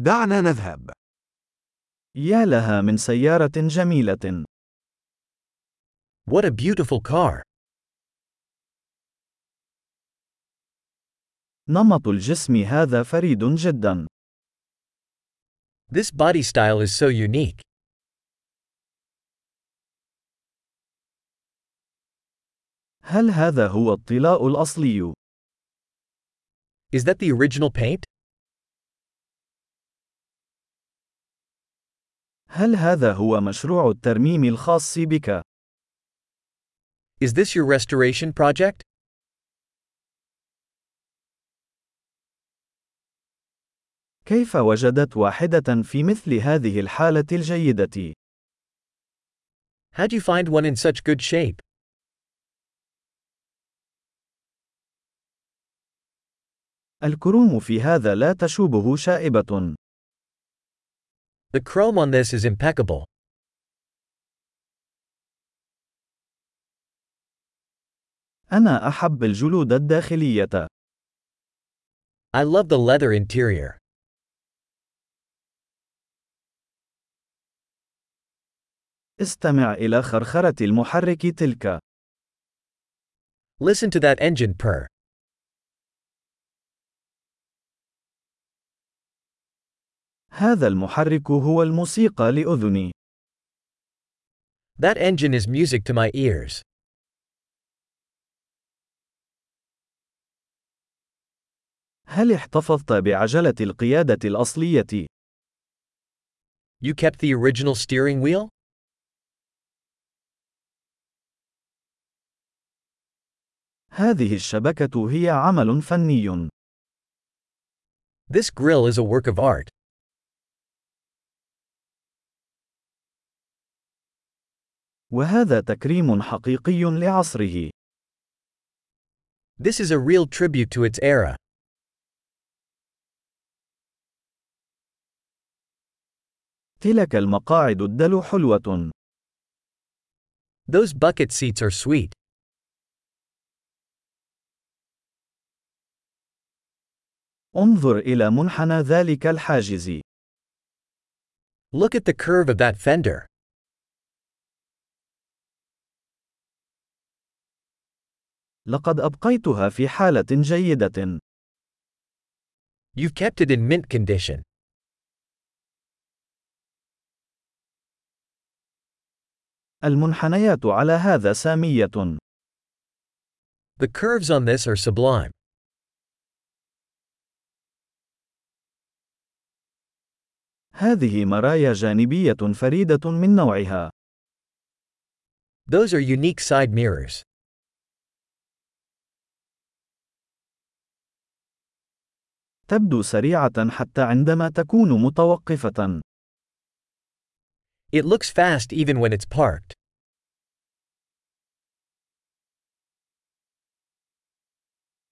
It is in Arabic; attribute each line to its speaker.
Speaker 1: دعنا نذهب.
Speaker 2: يا لها من سيارة جميلة.
Speaker 3: What a beautiful car!
Speaker 2: نمط الجسم هذا فريد جدا.
Speaker 3: This body style is so unique.
Speaker 2: هل هذا هو الطلاء الأصلي؟
Speaker 3: Is that the original paint?
Speaker 2: هل هذا هو مشروع الترميم الخاص بك؟
Speaker 3: Is this your restoration project?
Speaker 2: كيف وجدت واحدة في مثل هذه الحالة الجيدة؟
Speaker 3: How'd you find one in such good shape?
Speaker 2: الكروم في هذا لا تشوبه شائبة.
Speaker 3: The chrome on this is impeccable.
Speaker 2: أنا أحب الجلود الداخلية.
Speaker 3: I love the leather interior.
Speaker 2: استمع إلى خرخرة المحرك تلك.
Speaker 3: Listen to that engine purr.
Speaker 2: هذا المحرك هو الموسيقى لأذني.
Speaker 3: That engine is music to my ears.
Speaker 2: هل احتفظت بعجلة القيادة الأصلية؟
Speaker 3: You kept the original steering wheel?
Speaker 2: هذه الشبكة هي عمل فني.
Speaker 3: This grill is a work of art.
Speaker 2: وهذا تكريم حقيقي لعصره.
Speaker 3: This is a real tribute to its era.
Speaker 2: تلك المقاعد الدلو حلوة.
Speaker 3: Those bucket seats are sweet.
Speaker 2: انظر إلى منحنى ذلك الحاجز.
Speaker 3: Look at the curve of that fender.
Speaker 2: لقد أبقيتها في حالة جيدة.
Speaker 3: You've kept it in mint condition.
Speaker 2: المنحنيات على هذا سامية.
Speaker 3: The curves on this are sublime.
Speaker 2: هذه مرايا جانبية فريدة من نوعها.
Speaker 3: Those are unique side mirrors.
Speaker 2: تبدو سريعة حتى عندما تكون متوقفة.
Speaker 3: It looks fast even when it's parked.